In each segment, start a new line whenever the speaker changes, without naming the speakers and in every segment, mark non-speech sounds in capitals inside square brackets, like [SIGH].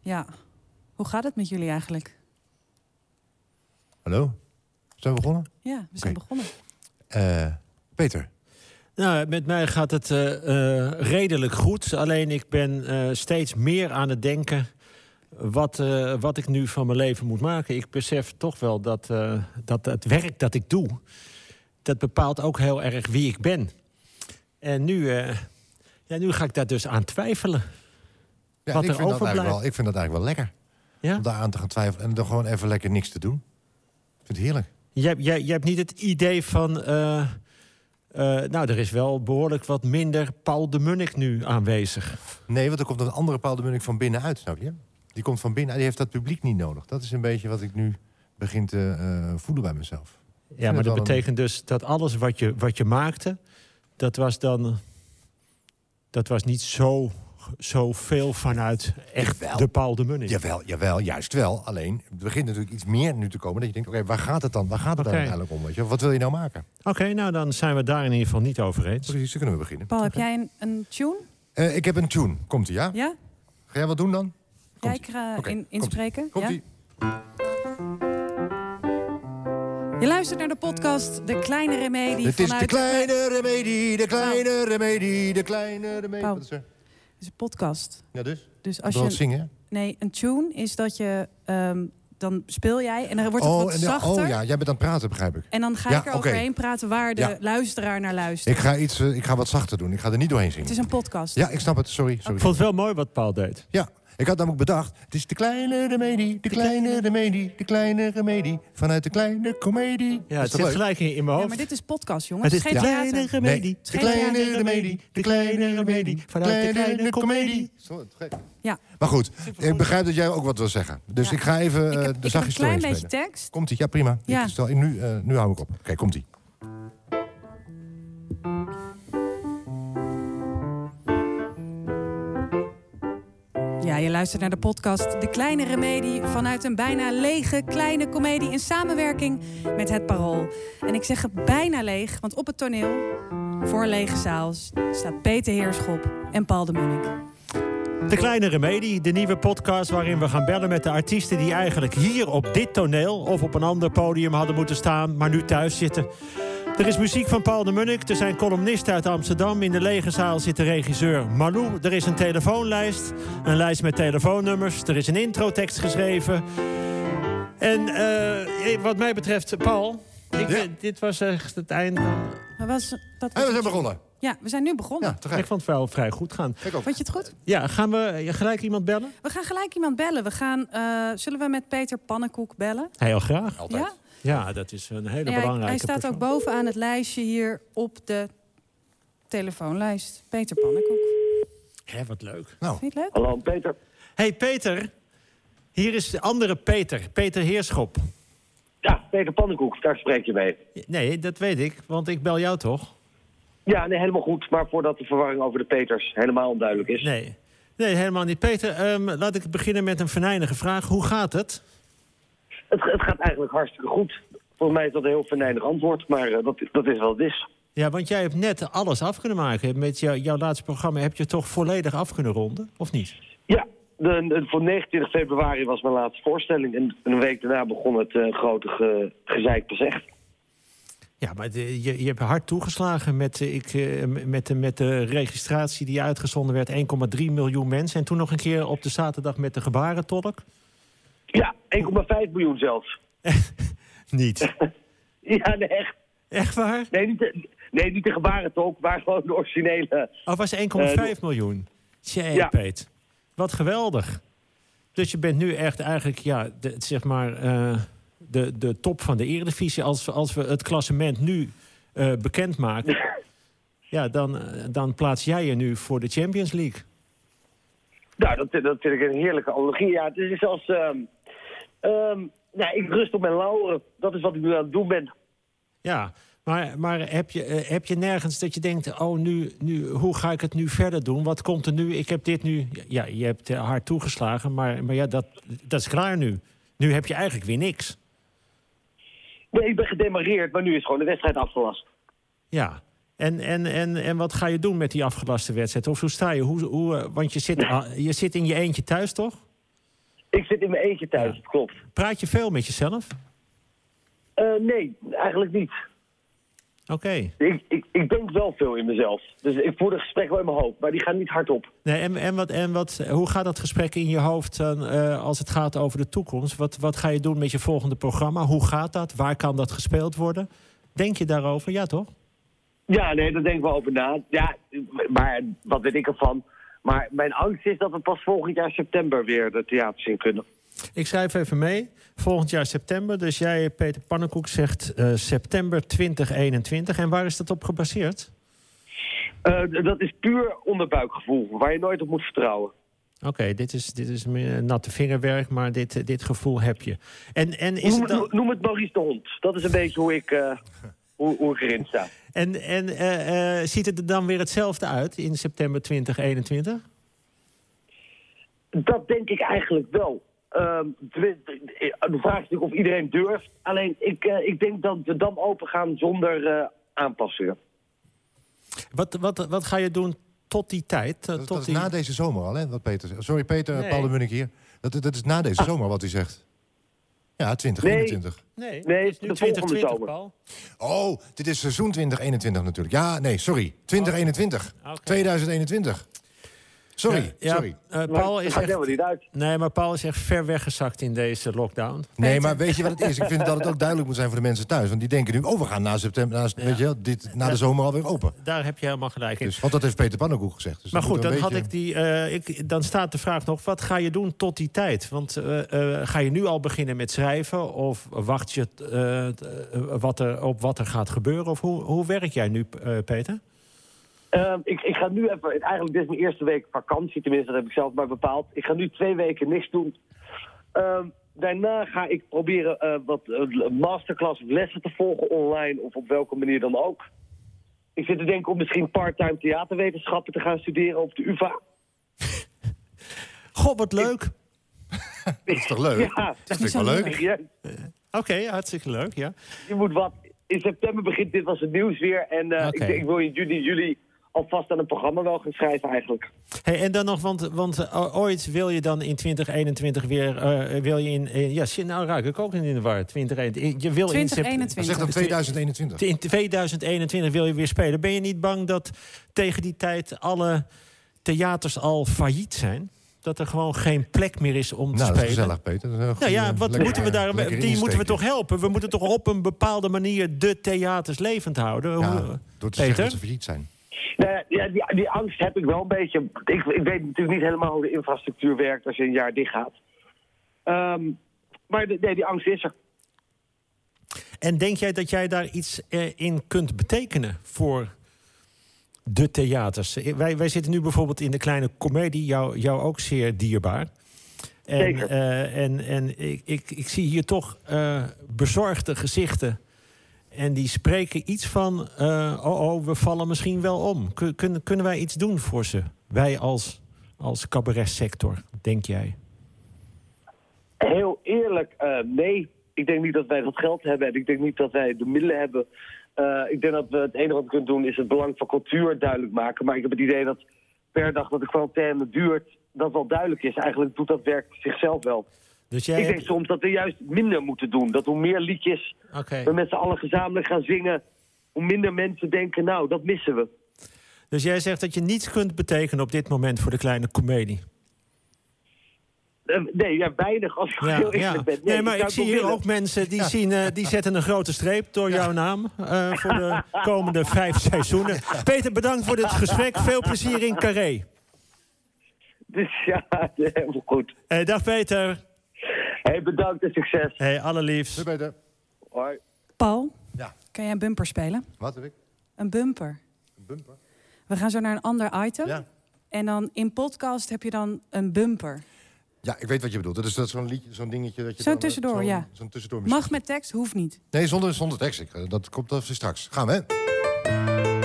Ja. Hoe gaat het met jullie eigenlijk?
Hallo? Zijn we begonnen?
Ja, we zijn begonnen.
Eh, Peter.
Nou, met mij gaat het eh, eh, redelijk goed. Alleen ik ben eh, steeds meer aan het denken wat, eh, wat ik nu van mijn leven moet maken. Ik besef toch wel dat, eh, dat het werk dat ik doe, dat bepaalt ook heel erg wie ik ben. En nu, eh, ja, nu ga ik daar dus aan twijfelen.
Ja,
Wat
ik,
er
vind dat eigenlijk
overblijft.
wel, ik vind dat eigenlijk wel lekker.
Ja?
Om daar aan te gaan twijfelen en dan gewoon even lekker niks te doen. Ik vind het heerlijk.
Jij, jij, jij hebt niet het idee van. eh, eh, nou, er is wel behoorlijk wat minder Paul de Munnik nu aanwezig.
Nee, want er komt een andere Paul de Munnik van binnenuit, snap je? Die komt van binnen, die heeft dat publiek niet nodig. Dat is een beetje wat ik nu begin te eh, voelen bij mezelf.
Ja, maar
het
dat
wel een-
betekent dus dat alles wat je, wat je maakte, dat was dan. Dat was niet zo, zo veel vanuit echt
Jawel.
de Paul de Munnik.
Jawel, jawel, juist wel. Alleen, het begint natuurlijk iets meer nu te komen. Dat je denkt, oké, waar gaat het dan? Waar gaat het dan
Oké.
uiteindelijk om? Weet je? Wat wil je nou maken?
Oké, nou dan zijn we het daar in ieder geval niet over eens.
Precies, dan kunnen we beginnen.
Paul, heb jij een, een tune?
Eh, ik heb een tune. Komt-ie, ja?
Ja?
Ga jij wat doen dan?
Jij
Komt-ie.
ik ga
Oké,
in-
komt-ie.
inspreken. ja?
Komt-ie.
Je luistert naar de podcast De Kleine Remedie
Het is
vanuit... Nou.
de kleine remedie, de kleine remedie, de kleine remedie.
Pauw.
Wat is er?
Het is een podcast.
Ja, dus?
Dus
Als
als je...
zingen? hè?
Nee, een tune is dat je... ehm, dan speel jij en dan wordt het
oh,
wat
en dan-
zachter.
oh ja, jij bent aan het praten, begrijp ik.
En dan ga
Ja,
ik er
oké.
overheen praten waar de
Ja.
luisteraar naar luistert.
Ik ga, iets, eh, ik ga wat zachter doen. Ik ga er niet doorheen
Het
zingen.
is een podcast.
Ja, ik snap het. Sorry.
Ik
sorry.
vond het wel mooi wat Paul deed.
Ja, ik had namelijk bedacht. Het is de kleine remedie, de kleine remedie, de kleine remedie. Vanuit de kleine komedie.
Ja,
Dat
het
is toch
zit
leuk?
gelijk in, in mijn
Ja,
hoofd.
maar dit is podcast, jongens.
het is
geen
de
theater.
Eh,
kleine remedie.
Nee, de
geen
kleine
theater.
remedie, de kleine remedie. Vanuit de kleine komedie. Zo, te gek.
Ja.
Maar goed, ik begrijp dat jij ook wat wil zeggen. Dus
Ja.
ik ga
Ik heb,
even eh, de
ik heb een
zachtjes
klein
doorheen spelen.
beetje tekst.
Komt-ie? Ja, prima.
Ja.
Ik stel, nu, eh, nu hou ik op. Oké, komt-ie.
Ja, je luistert naar de podcast De Kleine Remedie vanuit een bijna lege kleine komedie in samenwerking met Het Parool. En ik zeg het bijna leeg, want op het toneel, voor een lege zaal, staat Peter Heerschop en Paul de Munnik.
De Kleine Remedie, de nieuwe podcast waarin we gaan bellen met de artiesten die eigenlijk hier op dit toneel of op een ander podium hadden moeten staan, maar nu thuis zitten. Er is muziek van Paul de Munnik, er zijn columnisten uit Amsterdam. In de lege zaal zit de regisseur Malou. Er is een telefoonlijst, een lijst met telefoonnummers. Er is een introtekst geschreven. En eh, eh, wat mij betreft, Paul, ik,
Ja.
eh, dit was echt het einde.
Maar was, dat
En we zijn begonnen.
Ja, we zijn nu begonnen.
Ja, te
Ik
gek.
vond het wel vrij goed gaan.
Ik ook.
Vond je het goed?
Ja, gaan we gelijk iemand bellen?
We gaan gelijk iemand bellen. We gaan, eh, zullen we met Peter Pannenkoek bellen?
Heel graag.
Altijd.
Ja?
Ja, dat is een hele
Ja, hij-
belangrijke
hij staat ook
persoon.
bovenaan het lijstje hier op de telefoonlijst. Peter Pannenkoek.
Hé, wat leuk.
Nou,
Vind je het leuk?
Hallo Peter.
hey, Peter. Hier is de andere Peter. Peter Heerschop.
Ja, Peter Pannenkoek, daar spreek je mee.
Nee, dat weet ik, want ik bel jou toch?
Ja, nee, helemaal goed. Maar voordat de verwarring over de Peters helemaal onduidelijk is.
Nee. Nee, helemaal niet. Peter, ehm, laat ik beginnen met een venijnige vraag. Hoe gaat het?
Het, het gaat eigenlijk hartstikke goed. Volgens mij is dat een heel venijnig antwoord, maar eh, dat, dat is wat het is.
Ja, want jij hebt net alles af kunnen maken. Met jou- jouw laatste programma heb je toch volledig af kunnen ronden, of niet?
Ja, de, de- voor 29 februari was mijn laatste voorstelling. En een week daarna begon het eh, grote ge, gezeik bezegd.
Ja, maar de- je, je hebt hard toegeslagen met, eh, ik, eh, m- met, de, met de registratie die uitgezonden werd. 1,3 miljoen mensen. En toen nog een keer op de zaterdag met de gebarentolk.
Ja, 1,5 miljoen zelfs.
Niet.
Ja, nee, echt.
Echt waar? Oh,
Nee, niet de, nee, niet de gebarentolk, maar gewoon de originele.
Oh, was 1,5
Eh,
miljoen. Tjee,
Ja.
Peet. Wat geweldig. Dus je bent nu echt eigenlijk, ja, de, zeg maar, eh, de, de top van de Eredivisie. Als, we- als we het klassement nu eh bekendmaken,
[LAUGHS]
ja, dan, eh, dan plaats jij je nu voor de Champions League.
Nou, dat, dat vind ik een heerlijke analogie. Ja, het is als... ehm, ehm, nou, ik rust op mijn lauren. Dat is wat ik nu aan het doen ben.
Ja, maar, maar heb, je, eh, heb je nergens dat je denkt, oh, nu, nu, hoe ga ik het nu verder doen? Wat komt er nu? Ik heb dit nu, ja, je hebt eh, hard toegeslagen, maar, maar ja, dat, dat is klaar nu. Nu heb je eigenlijk weer niks.
Nee, ik ben gedemareerd, maar nu is gewoon de wedstrijd afgelast.
Ja. En, en, en, en wat ga je doen met die afgelaste wedstrijd? Of hoe sta je? Hoe, hoe, eh, want je zit, ah, je zit in je eentje thuis, toch?
Ik zit in mijn eentje thuis,
Ja.
klopt.
Praat je veel met jezelf?
Eh, nee, eigenlijk niet.
Oké.
Ik, ik, ik denk wel veel in mezelf. Dus ik voer de gesprekken wel in mijn hoofd, maar die gaan niet hardop.
Nee, en, en, wat, en wat, eh, hoe gaat dat gesprek in je hoofd dan, eh, als het gaat over de toekomst? Wat, wat ga je doen met je volgende programma? Hoe gaat dat? Waar kan dat gespeeld worden? Denk je daarover? Ja, toch?
Ja, nee, daar denk ik wel over na. Ja, maar wat weet ik ervan? Maar mijn angst is dat we pas volgend jaar september weer de theaters in kunnen.
Ik schrijf even mee. Volgend jaar september. Dus jij, Peter Pannenkoek, zegt eh, september 2021. En waar is dat op gebaseerd?
Eh, d- dat is puur onderbuikgevoel, waar je nooit op moet vertrouwen.
Oké, dit is, dit is meer natte vingerwerk, maar dit, eh, dit gevoel heb je. En, en is
Noem,
het
het-
dan...
noem het Maurice de Hond. Dat is een beetje hoe ik, eh, hoe, hoe ik erin sta.
En, en eh, eh, ziet het er dan weer hetzelfde uit in september 2021?
Dat denk ik eigenlijk wel. Ehm, tenminste, eh, de vraag is natuurlijk of iedereen durft. Alleen ik, eh, ik denk dat de dam open gaan zonder eh, aanpassingen.
Wat, wat, wat ga je doen tot die tijd? Eh,
Dat,
tot
dat is
die...
na deze zomer al, hè, wat Peter zegt. Sorry, Peter,
Nee. Ah.
Paul de Munnik hier. Dat, dat is na deze zomer wat hij zegt. Ja, 2021.
Nee,
Nee,
het is nu
de volgende
2020,
zomer.
Paul.
Oh, dit is seizoen 2021 natuurlijk. Ja, nee, sorry. 2021.
Oh, Oké.
2021. Sorry,
Ja,
sorry.
eh, Paul is
Maar dat gaat
echt...
helemaal niet uit.
Nee, maar Paul is echt ver weggezakt in deze lockdown.
Nee, maar weet je wat het is? Ik vind dat het ook duidelijk moet zijn voor de mensen thuis. Want die denken nu, oh, we gaan na september, na, weet je, wel, dit, na de zomer alweer open.
Daar heb je helemaal gelijk in.
Dus, want dat heeft Peter Pannenkoek gezegd. Dus
maar
dat
goed, dan,
moet een
had ik
beetje-
die, eh, ik, dan staat de vraag nog: wat ga je doen tot die tijd? Want eh, eh, ga je nu al beginnen met schrijven? Of wacht je eh, t- eh, wat er, op wat er gaat gebeuren? Of hoe, hoe werk jij nu, eh, Peter?
Ehm, ik, ik ga nu even, eigenlijk dit is mijn eerste week vakantie, tenminste dat heb ik zelf maar bepaald. Ik ga nu twee weken niks doen. Ehm, daarna ga ik proberen eh, wat eh, masterclass of lessen te volgen online of op welke manier dan ook. Ik zit te denken om misschien part-time theaterwetenschappen te gaan studeren op de UvA.
Goh, wat leuk.
Dat is toch leuk?
Ja.
Dat vind ik wel leuk.
Ja,
Oké, hartstikke leuk, ja.
je moet wat. In september begint dit was het nieuws weer en eh,
Oké.
ik, ik wil in juni, juli alvast aan een programma wel gaan schrijven eigenlijk.
Hey, en dan nog, want, want eh, ooit wil je dan in 2021 weer... eh, wil je in, eh, ja, shit, nou raak ik ook in de war. 2021. Je wil in september-
20. Zeg
2021.
dan 2021.
In 2021 wil je weer spelen. Ben je niet bang dat tegen die tijd alle theaters al failliet zijn? Dat er gewoon geen plek meer is om te
Nou, dat is
spelen?
gezellig, Peter. Dat is een
Nou
goede-
ja, wat
lekker- eh,
moeten we daar, die
lekker
moeten we
insteek.
toch helpen? We moeten toch op een bepaalde manier de theaters levend houden?
Ja,
Hoe-
door te zeggen
Peter?
dat ze failliet zijn.
Nou ja, ja, die, die angst heb ik wel een beetje. Ik, ik weet natuurlijk niet helemaal hoe de infrastructuur werkt als je een jaar dicht gaat. Ehm, maar de- nee, die angst is er.
En denk jij dat jij daar iets eh, in kunt betekenen voor de theaters? Eh, Wij, wij zitten nu bijvoorbeeld in de kleine comedie, jou, jou ook zeer dierbaar. En,
Zeker.
eh, en, en ik, ik, ik zie hier toch eh, bezorgde gezichten. En die spreken iets van: eh, oh, oh, we vallen misschien wel om. Kun- kunnen- kunnen wij iets doen voor ze? Wij als, als cabaretsector, denk jij?
Heel eerlijk, eh, nee. Ik denk niet dat wij dat geld hebben en ik denk niet dat wij de middelen hebben. Eh, ik denk dat we het enige wat we kunnen doen is het belang van cultuur duidelijk maken. Maar ik heb het idee dat per dag dat de quarantaine duurt, dat wel duidelijk is. Eigenlijk doet dat werk zichzelf wel.
Dus jij.
Ik denk
hebt-
soms dat we juist minder moeten doen. Dat hoe meer liedjes
Oké.
we met z'n allen gezamenlijk gaan zingen, hoe minder mensen denken, nou, dat missen we.
Dus jij zegt dat je niets kunt betekenen op dit moment voor de kleine comedie.
Eh, nee, ja, weinig als ik heel eerlijk ben.
Nee, maar ik zie hier ook mensen die, zien, eh, die zetten een grote streep door jouw naam eh, voor
[LAUGHS]
de komende vijf seizoenen. Peter, bedankt voor dit gesprek. Veel plezier in Carré.
Dus ja, [LAUGHS] helemaal goed.
Eh, dag Peter.
Hey, bedankt en succes.
Hey, allerliefst.
Doei, Peter.
Hoi.
Paul,
Ja,
kan jij een bumper spelen?
wat heb ik?
Een bumper.
Een bumper?
We gaan zo naar een ander item.
Ja.
En dan in podcast heb je dan een bumper.
Ja, ik weet wat je bedoelt. Dat is, dat is zo'n liedje, zo'n dingetje. dat je
Zo'n
dan, eh,
tussendoor,
zo'n-
ja.
Zo'n tussendoor muziek.
Mag met tekst, hoeft niet.
Nee, zonder, zonder tekst. Ik, eh, dat komt dat is straks. Gaan we, hè?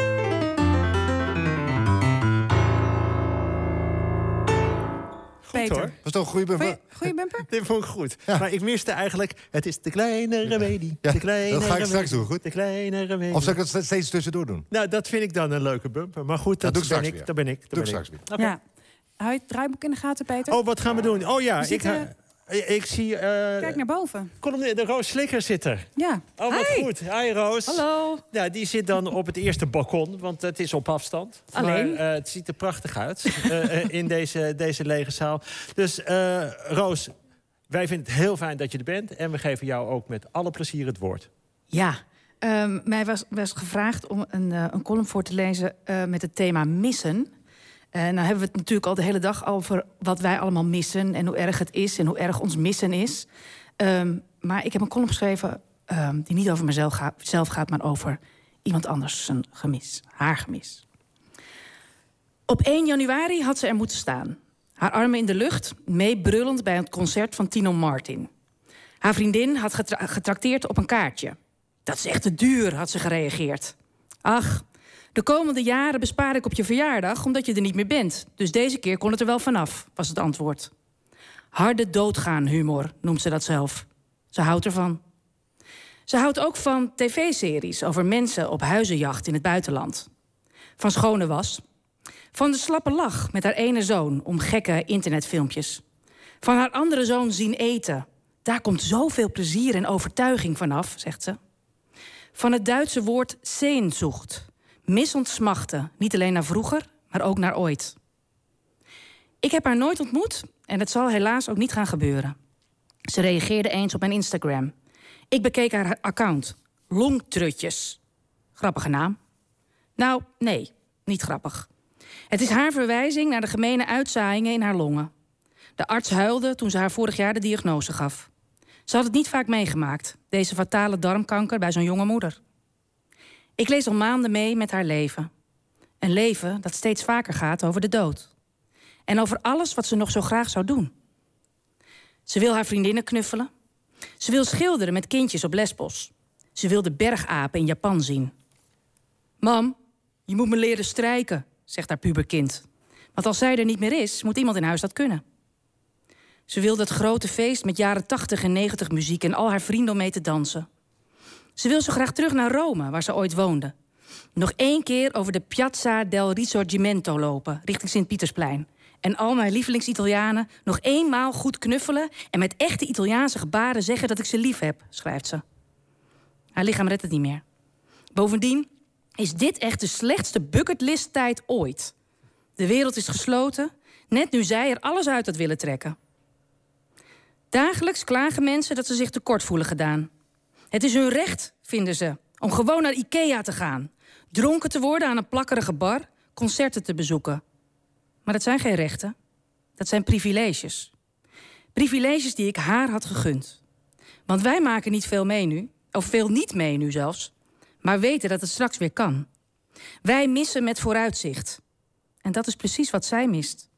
Peter.
hoor.
Was toch een goede bumper?
Goeie, goeie bumper?
Dit vond ik goed.
Ja.
Maar ik miste eigenlijk, het is de kleine remedie.
Ja,
de kleine
dat ga ik straks
remedie,
doen, goed?
De kleine remedie.
Of zal ik dat ste- steeds tussendoor doen?
Nou, dat vind ik dan een leuke bumper. Maar goed,
Dat
dat,
doe ik
ben,
straks
ik,
weer.
dat ben ik. Dat
Doe ik
ben
straks
ik.
weer.
[LAUGHS] Oké.
Ja. Hou je het draaiboek in de gaten, Peter?
Oh, wat gaan we doen? Oh ja,
We
ik,
zitten-
eh, Ik, ik zie... eh
Kijk naar boven.
column- de Roos Slikker zit er.
Ja.
Oh, wat
Hi.
goed. Hi, Roos.
Hallo.
Ja, die zit dan op het eerste balkon, want het is op afstand.
Alleen?
Maar, eh, het ziet er prachtig uit [LAUGHS] eh, eh, in deze, deze lege zaal. Dus eh, Roos, wij vinden het heel fijn dat je er bent. En we geven jou ook met alle plezier het woord.
Ja, ehm, mij was, was gevraagd om een, eh, een column voor te lezen eh, met het thema missen. En nou hebben we het natuurlijk al de hele dag over wat wij allemaal missen en hoe erg het is en hoe erg ons missen is. Ehm, maar ik heb een column geschreven ehm, die niet over mezelf ga- zelf gaat, maar over iemand anders zijn gemis, haar gemis. Op 1 januari had ze er moeten staan. Haar armen in de lucht, meebrullend bij het concert van Tino Martin. Haar vriendin had getra- getrakteerd op een kaartje. Dat is echt te duur, had ze gereageerd. Ach, de komende jaren bespaar ik op je verjaardag omdat je er niet meer bent. Dus deze keer kon het er wel vanaf, was het antwoord. Harde doodgaan humor, noemt ze dat zelf. Ze houdt ervan. Ze houdt ook van tv-series over mensen op huizenjacht in het buitenland. Van schone was. Van de slappe lach met haar ene zoon om gekke internetfilmpjes. Van haar andere zoon zien eten. Daar komt zoveel plezier en overtuiging vanaf, zegt ze. Van het Duitse woord sehnsucht. Misontsmachten, niet alleen naar vroeger, maar ook naar ooit. Ik heb haar nooit ontmoet en het zal helaas ook niet gaan gebeuren. Ze reageerde eens op mijn Instagram. Ik bekeek haar account. Longtrutjes. Grappige naam. Nou, nee, niet grappig. Het is haar verwijzing naar de gemene uitzaaiingen in haar longen. De arts huilde toen ze haar vorig jaar de diagnose gaf. Ze had het niet vaak meegemaakt, deze fatale darmkanker bij zo'n jonge moeder. Ik lees al maanden mee met haar leven. Een leven dat steeds vaker gaat over de dood. En over alles wat ze nog zo graag zou doen. Ze wil haar vriendinnen knuffelen. Ze wil schilderen met kindjes op Lesbos. Ze wil de bergapen in Japan zien. Mam, je moet me leren strijken, zegt haar puberkind. Want als zij er niet meer is, moet iemand in huis dat kunnen. Ze wil dat grote feest met jaren 80 en 90 muziek en al haar vrienden om mee te dansen. Ze wil zo graag terug naar Rome, waar ze ooit woonde. Nog één keer over de Piazza del Risorgimento lopen, richting Sint-Pietersplein. En al mijn lievelings-Italianen nog eenmaal goed knuffelen en met echte Italiaanse gebaren zeggen dat ik ze lief heb, schrijft ze. Haar lichaam redt het niet meer. Bovendien is dit echt de slechtste bucketlist-tijd ooit. De wereld is gesloten, net nu zij er alles uit had willen trekken. Dagelijks klagen mensen dat ze zich tekort voelen gedaan. Het is hun recht, vinden ze, om gewoon naar IKEA te gaan. Dronken te worden aan een plakkerige bar, concerten te bezoeken. Maar dat zijn geen rechten, dat zijn privileges. Privileges die ik haar had gegund. Want wij maken niet veel mee nu, of veel niet mee nu zelfs, maar weten dat het straks weer kan. Wij missen met vooruitzicht. En dat is precies wat zij mist.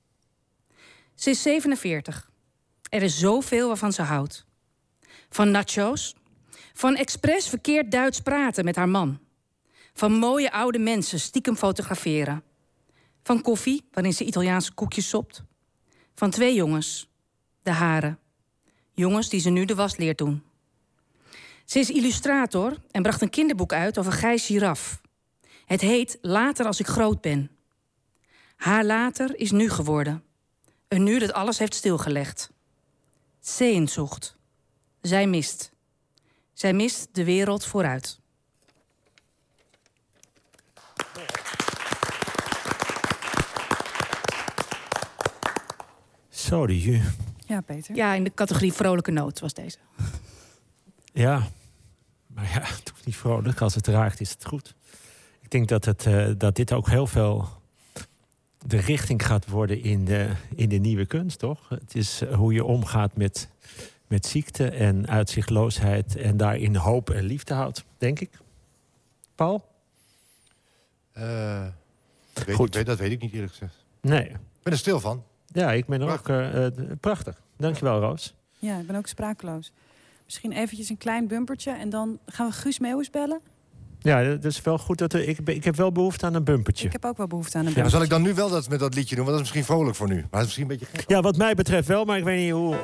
Ze is 47. Er is zoveel waarvan ze houdt. Van nacho's. Van expres verkeerd Duits praten met haar man. Van mooie oude mensen stiekem fotograferen. Van koffie, waarin ze Italiaanse koekjes sopt. Van twee jongens. De haren. Jongens die ze nu de was leert doen. Ze is illustrator en bracht een kinderboek uit over Gijs Giraf. Het heet Later als ik groot ben. Haar later is nu geworden. Een nu dat alles heeft stilgelegd. Sehnsucht. Zij mist. Zij mist de wereld vooruit.
Sorry.
Ja, Peter.
Ja, in de categorie vrolijke noot was deze.
Ja, maar ja, [LAUGHS] het hoeft niet vrolijk. Als het raakt, is het goed. Ik denk dat, het, eh, dat dit ook heel veel de richting gaat worden in de, in de nieuwe kunst, toch? Het is eh, hoe je omgaat met, met ziekte en uitzichtloosheid... en daarin hoop en liefde houdt, denk ik. Paul?
Eh, ik weet,
Goed.
ik weet- dat weet ik niet eerlijk gezegd.
Nee.
Ik ben er stil van.
Ja, ik ben er ook eh, eh, prachtig. Dankjewel, Roos.
Ja, ik ben ook sprakeloos. Misschien eventjes een klein bumpertje en dan gaan we Guus Meeuwis bellen.
Ja, dat is wel goed. Dat, er- ik, ben- ik heb wel behoefte aan een bumpertje.
Ik heb ook wel behoefte aan een
Maar
bumpertje.
zal ik dan nu wel dat met dat liedje doen? Want dat is misschien vrolijk voor nu. Maar dat is misschien een beetje gek.
Ja, wat mij betreft wel, maar ik weet niet hoe...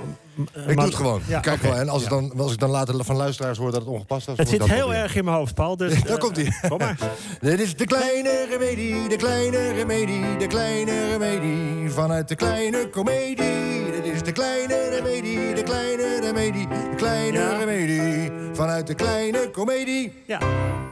Ik doe het gewoon.
Ja,
Kijk
oké.
wel. En als, het dan, als ik dan later van luisteraars hoor dat het ongepast was...
Het
moet ik
zit
dat
heel
proberen.
erg in mijn hoofd,
[LAUGHS]
Paul. Dus,
Daar
eh,
komt hij.
Kom maar.
[LAUGHS] Dit is de kleine remedie, de kleine remedie, de kleine remedie. Vanuit de kleine komedie. Dit is de de kleine remedie, de kleine remedie, de kleine
Ja.
remedie. Vanuit de kleine komedie.
Ja,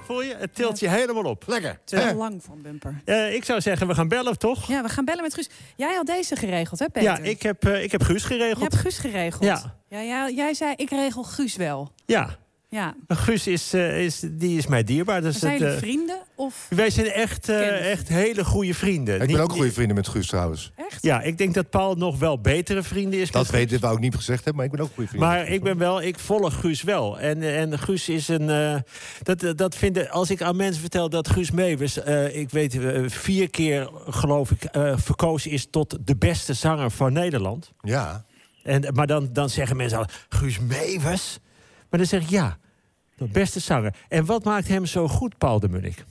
voel je? Het tilt je helemaal op.
Lekker. Eh.
Het is wel
hè?
lang voor een bumper.
Eh, ik zou zeggen, we gaan bellen, toch?
Ja, we gaan bellen met Guus. Jij had deze geregeld, hè, Peter?
Ja, ik heb, eh, ik heb Guus
Je
geregeld.
hebt Guus geregeld.
Ja.
Ja, ja, jij zei, ik regel Guus wel.
Ja,
Ja.
Guus is, eh, is, die is mij dierbaar. Dus
Zijn
het,
jullie
eh,
vrienden? Of
wij zijn echt, eh,
Kennissen.
echt hele goede vrienden.
Ik
Niet-
ben ook goede vrienden met Guus trouwens.
echt?
Ja, ik denk dat Paul nog wel betere vrienden is.
Dat
met
weet ik, wou ik niet gezegd hebben, maar ik ben ook goede vrienden.
Maar ik ben wel, ik volg Guus wel. En, en Guus is een. eh, dat, dat vinden, als ik aan mensen vertel dat Guus Meeuwis, eh, ik weet, eh, vier keer geloof ik, eh, verkozen is tot de beste zanger van Nederland.
Ja,
En, maar dan, dan zeggen mensen al, Guus Meeuwis? Maar dan zeg ik ja, de beste zanger. En wat maakt hem zo goed, Paul de Munnik?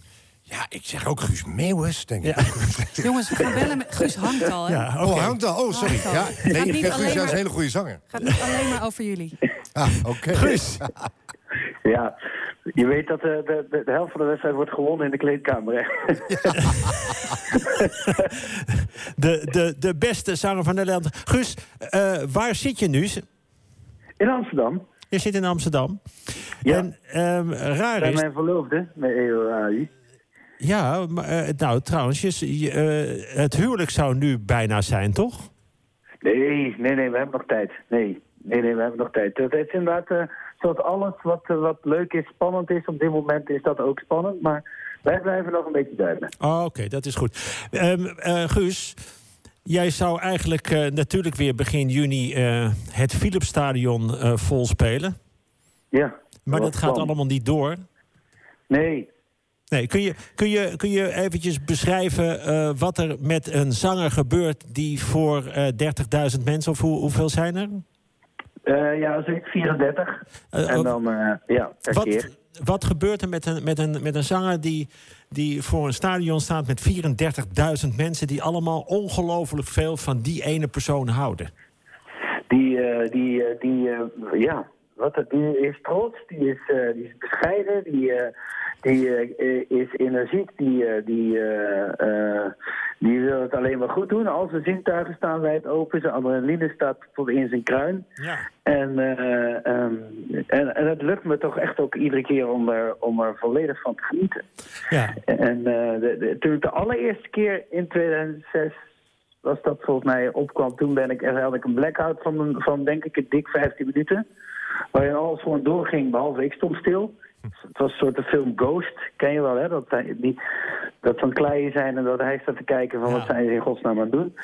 ja ik zeg ook Guus Meeuwis, denk ik.
Ja.
Jongens, we gaan bellen met... Guus hangt al, hè?
Ja,
Oh,
oké.
hangt al. Oh, sorry.
Hangt al.
Ja,
Gaat
nee, ik
niet
vind Guus
alleen
juist
maar-
een hele goede zanger.
Gaat niet
[LAUGHS]
alleen maar over jullie.
Ah, oké.
Guus,
Ja, je weet dat eh, de, de, de helft van de wedstrijd wordt gewonnen in de kleedkamer. hè? [LAUGHS]
de, de, de beste zanger van Nederland. Guus, eh, waar zit je nu?
In Amsterdam.
Je zit in Amsterdam.
Ja.
En ehm, raar
Bij
is.
mijn verloofde, met E EO AI.
Ja, maar, eh, nou trouwens, je, je, eh, het huwelijk zou nu bijna zijn, toch?
Nee, nee, nee, we hebben nog tijd. Nee, nee, nee, we hebben nog tijd. Het is inderdaad, eh, zoals alles wat, eh, wat leuk is, spannend is, op dit moment is dat ook spannend. Maar wij blijven nog een beetje duimen.
Oh, Oké, dat is goed. Ehm, eh, Guus, jij zou eigenlijk eh, natuurlijk weer begin juni eh, het Philipsstadion eh, vol spelen.
Ja.
Maar
Wat
dat gaat
dan?
allemaal niet door.
Nee.
Nee, kun je, kun je, kun je eventjes beschrijven eh, wat er met een zanger gebeurt... die voor eh, 30.000 mensen, of hoe, hoeveel zijn er?
Eh, ja, zoiets 34.
Eh,
en
of-
dan, eh, ja, per
Wat,
keer.
wat gebeurt er met een, met een, met een zanger die, die voor een stadion staat met 34.000 mensen die allemaal ongelooflijk veel van die ene persoon houden?
Die, eh, die, eh, die eh, ja, wat, het- die is trots, die is, eh, die is bescheiden, die, eh, die eh, is energiek, die, eh, die, eh, eh, die wil het alleen maar goed doen. Al zijn zintuigen staan wijd open, zijn adrenaline staat tot in zijn kruin.
Ja.
En, eh, ehm, en, en het lukt me toch echt ook iedere keer om er, om er volledig van te genieten.
ja.
En eh, de, de- toen ik de allereerste keer in 2006 was dat volgens mij opkwam, toen ben ik, er had ik een blackout van, een- van denk ik een dik 15 minuten. Waarin alles gewoon doorging, behalve ik stond stil. Het was een soort de film Ghost, ken je wel hè? Dat, hij- die, dat van kleien zijn en dat hij staat te kijken van
Ja.
wat zijn ze in godsnaam aan het doen.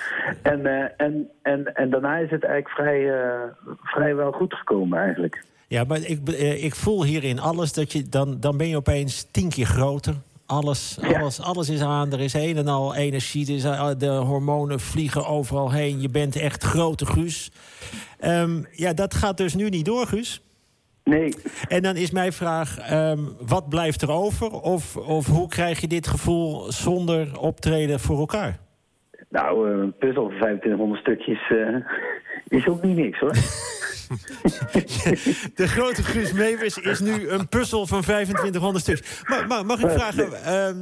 En, eh, en, en, en daarna is het eigenlijk vrij, eh, vrij wel goed gekomen eigenlijk.
ja, maar ik, be- eh, ik voel hierin alles dat je dan, dan ben je opeens tien keer groter. Alles,
Ja.
alles, alles is aan. Er is een en al energie. Er is, eh, de hormonen vliegen overal heen. Je bent echt grote Guus. Ehm, ja, dat gaat dus nu niet door, Guus.
Nee,
En dan is mijn vraag, ehm, wat blijft er over? Of, of hoe krijg je dit gevoel zonder optreden voor elkaar?
nou, eh, een puzzel van 2500 stukjes eh, [LAUGHS] is ook niet niks hoor.
De grote Guus Meeuwis is nu een puzzel van 2500 stuks. Maar, maar mag ik vragen, ehm,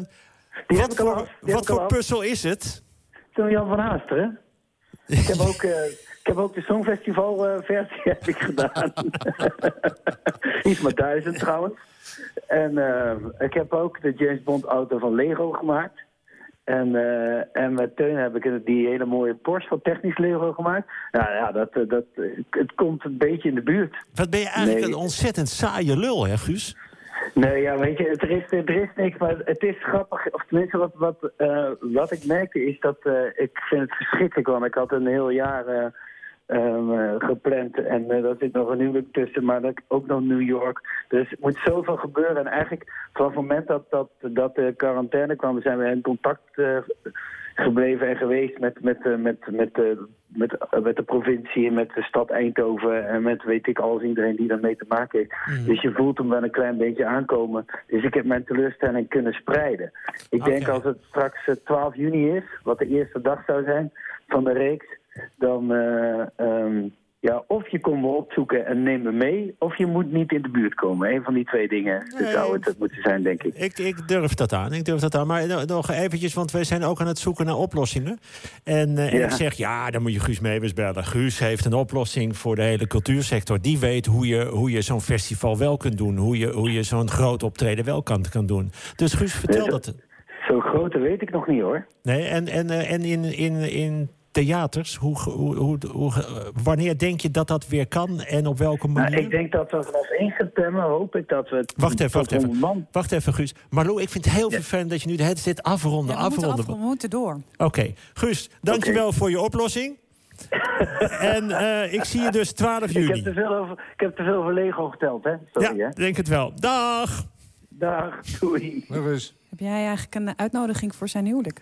Eh, Die heb
wat
ik al af.
voor,
Die heb
wat
ik al
voor
af.
puzzel is het?
Toen Jan van Haasteren. Ik heb ook, eh, ik heb ook de Songfestival eh, versie [LAUGHS] heb ik gedaan. Iets maar duizend trouwens. En eh, ik heb ook de James Bond auto van Lego gemaakt. En, eh, en met Teun heb ik die hele mooie Porsche van technisch Lego gemaakt. Nou ja, dat, eh, dat, eh, het komt een beetje in de buurt.
Wat ben je eigenlijk
Nee.
een ontzettend saaie lul, hè Guus?
Nee, ja, weet je, het- er is, er is niks, maar het is grappig. Of tenminste, wat, wat, eh, wat ik merkte is dat eh, ik vind het verschrikkelijk, want ik had een heel jaar eh, ehm, eh, gepland en eh, daar zit nog een huwelijk tussen, maar dat, ook nog New York. Dus er moet zoveel gebeuren en eigenlijk vanaf het moment dat, dat, dat de quarantaine kwam, zijn we in contact eh, gebleven en geweest met, met, eh, met, met, eh, met, eh, met de provincie en met de stad Eindhoven en met weet ik alles, iedereen die daarmee te maken heeft.
Hmm.
Dus je voelt hem wel een klein beetje aankomen. Dus ik heb mijn teleurstelling kunnen spreiden. Ik denk
Oké.
als het straks eh, 12 juni is, wat de eerste dag zou zijn van de reeks, dan, eh, ehm,
Ja, of je komt me opzoeken en neem me mee, of je moet niet in de buurt komen. Een van die twee dingen
Nee.
dat zou het moeten zijn, denk ik.
Ik, ik durf dat aan, ik durf dat aan. Maar no- nog eventjes, want wij zijn ook aan het zoeken naar oplossingen. En, eh, en
Ja.
ik zeg, ja, dan moet je Guus Meeuwis bellen. Guus heeft een oplossing voor de hele cultuursector. Die weet hoe je, hoe je zo'n festival wel kunt doen. Hoe je, hoe je zo'n groot optreden wel kan, kan doen. Dus Guus, vertel
Nee,
dat.
Zo grote weet ik nog niet hoor.
Nee, en en, eh, en in, in, in theaters, hoe, ge- hoe, hoe, hoe ge- eh, wanneer denk je dat dat weer kan en op welke
Nou,
manier?
ik denk dat we vanaf 1 september hoop ik dat we. het-
Wacht even,
tot
wacht even.
100 Man.
Wacht even, Guus. Marlo, ik vind het heel vervelend dat je nu de hele tijd afronden,
Ja, we, moeten
afronden.
afronden, we moeten door.
Oké, Guus, dankjewel voor je oplossing.
[LAUGHS]
en eh, ik zie je dus 12
Ik heb,
juli.
te veel over, ik heb te veel over Lego geteld, hè? Sorry,
Ja,
hè?
denk het wel. Dag!
Dag, doei.
Nog Nou, eens.
Heb jij eigenlijk een eh, uitnodiging voor zijn huwelijk?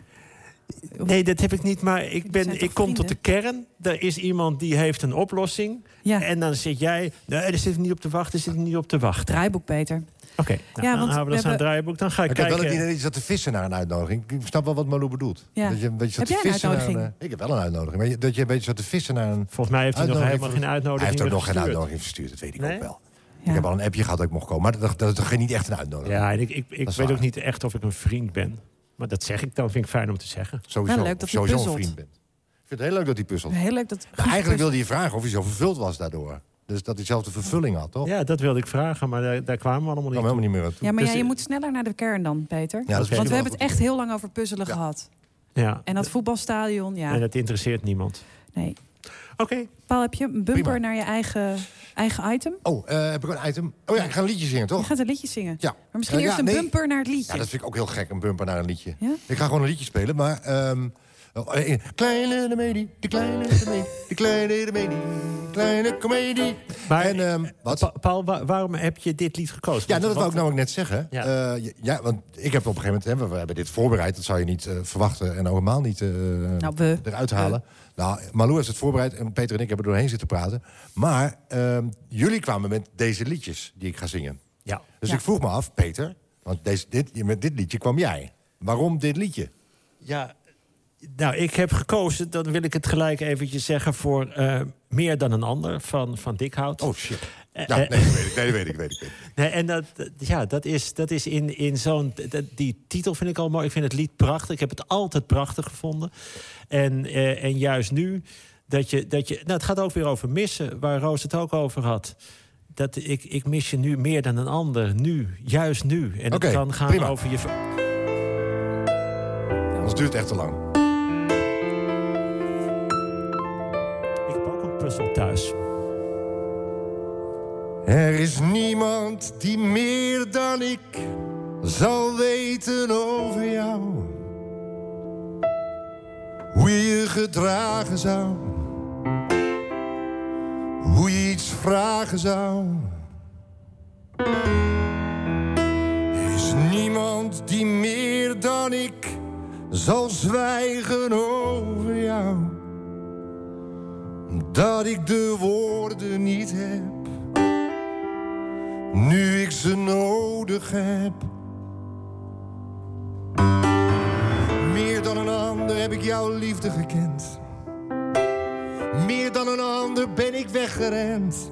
Nee, dat heb ik niet, maar ik,
zijn
ben,
toch
ik kom tot de
vrienden?
kern. Er is iemand die heeft een oplossing.
Ja.
En dan zit jij... Nee, daar zit ik niet op te wachten, daar zit ik niet op te wachten.
Draaiboek, Peter.
Oké, nou,
Ja,
dan
want
houden we
we
dat aan het
hebben-
draaiboek. Dan ga ik
Ik heb
kijken.
wel het idee dat je zat te vissen naar een uitnodiging. Ik snap wel wat Malou bedoelt.
Ja.
Dat je, een beetje
Heb
zat te
jij een
vissen naar
uitnodiging?
eh, ik heb wel een uitnodiging. Maar je- dat je een beetje zat te vissen naar een...
Volgens mij heeft hij nog helemaal
voor-
geen uitnodiging
Hij heeft ook nog geen
gestuurd.
uitnodiging verstuurd, dat weet ik
Nee?
ook wel.
Ja.
Ik heb al een appje gehad dat ik mocht komen. Maar dat, dat, dat ging niet echt een uitnodiging.
Ja, en ik, ik, ik
is
weet
waar.
ook niet echt of ik een vriend ben. Maar dat zeg ik dan, vind ik fijn om te zeggen.
Sowieso,
Wel Nou, leuk
of
dat hij
sowieso een
puzzelt.
vriend bent. Ik vind het heel leuk dat hij puzzelt.
Heel leuk dat...
Maar eigenlijk wilde je vragen of hij zo vervuld was daardoor. Dus dat hij zelf de vervulling had, toch?
Ja, dat wilde ik vragen, maar daar, daar kwamen we allemaal
Ik
niet.
kwam helemaal niet meer aan toe.
Ja, maar
Dus-
ja, je moet sneller naar de kern dan, Peter.
Ja, dat is misschien wel
Want we
een
hebben
goed
het echt heel lang over puzzelen
Ja.
gehad.
Ja.
En dat voetbalstadion,
En
ja.
dat interesseert niemand.
Nee.
Oké.
Paul, heb je een bumper
Prima.
naar je eigen, eigen item?
Oh, eh, heb ik een item? Oh ja, ik ga een liedje zingen,
Je
toch?
gaat een liedje zingen.
Ja.
Maar misschien
Eh, ja,
eerst een
nee.
bumper naar het liedje.
Ja, dat vind ik ook heel gek, een bumper naar een liedje.
Ja?
Ik ga gewoon een liedje spelen, maar... ehm, oh, eh, kleine de medie, de kleine de medie, de kleine de medie, kleine comedie.
Maar-
en, ehm, wat?
Pa- Paul, wa- waarom heb je dit lied gekozen?
Ja,
Want-
nou, dat wou ik
want-
namelijk net zeggen. Eh,
Ja.
Ja. ja, want ik heb op een gegeven moment... Hè, we, we hebben dit voorbereid, dat zou je niet eh, verwachten. En ook helemaal niet eh,
Nou, we.
eruit halen. Nou, Malou heeft het voorbereid en Peter en ik hebben er doorheen zitten praten. Maar ehm, jullie kwamen met deze liedjes die ik ga zingen.
Ja.
Dus
Ja.
ik vroeg me af, Peter, want deze, dit, met dit liedje kwam jij. Waarom dit liedje?
ja. Nou, ik heb gekozen, dan wil ik het gelijk eventjes zeggen... voor eh, Meer dan een ander van, van Dikhout.
Oh shit. Ja,
Eh,
nee,
eh,
dat weet ik, nee, dat weet ik, weet ik. weet ik.
Nee, en dat, dat- ja, dat is, dat is in, in zo'n. dat- Die titel vind ik al mooi. Ik vind het lied prachtig. Ik heb het altijd prachtig gevonden. En, eh, en juist nu, dat je. Dat je nou, het gaat ook weer over missen, waar Roos het ook over had. Dat ik, ik mis je nu meer dan een ander. Nu, juist nu. En dat
Oké,
kan gaan
prima.
over je. ver-
Anders duurt het echt te lang.
Ik heb ook een puzzel thuis.
Er is niemand die meer dan ik zal weten over jou. Hoe je je gedragen zou. Hoe je iets vragen zou. Er is niemand die meer dan ik zal zwijgen over jou. Dat ik de woorden niet heb nu ik ze nodig heb. Meer dan een ander heb ik jouw liefde gekend. Meer dan een ander ben ik weggerend.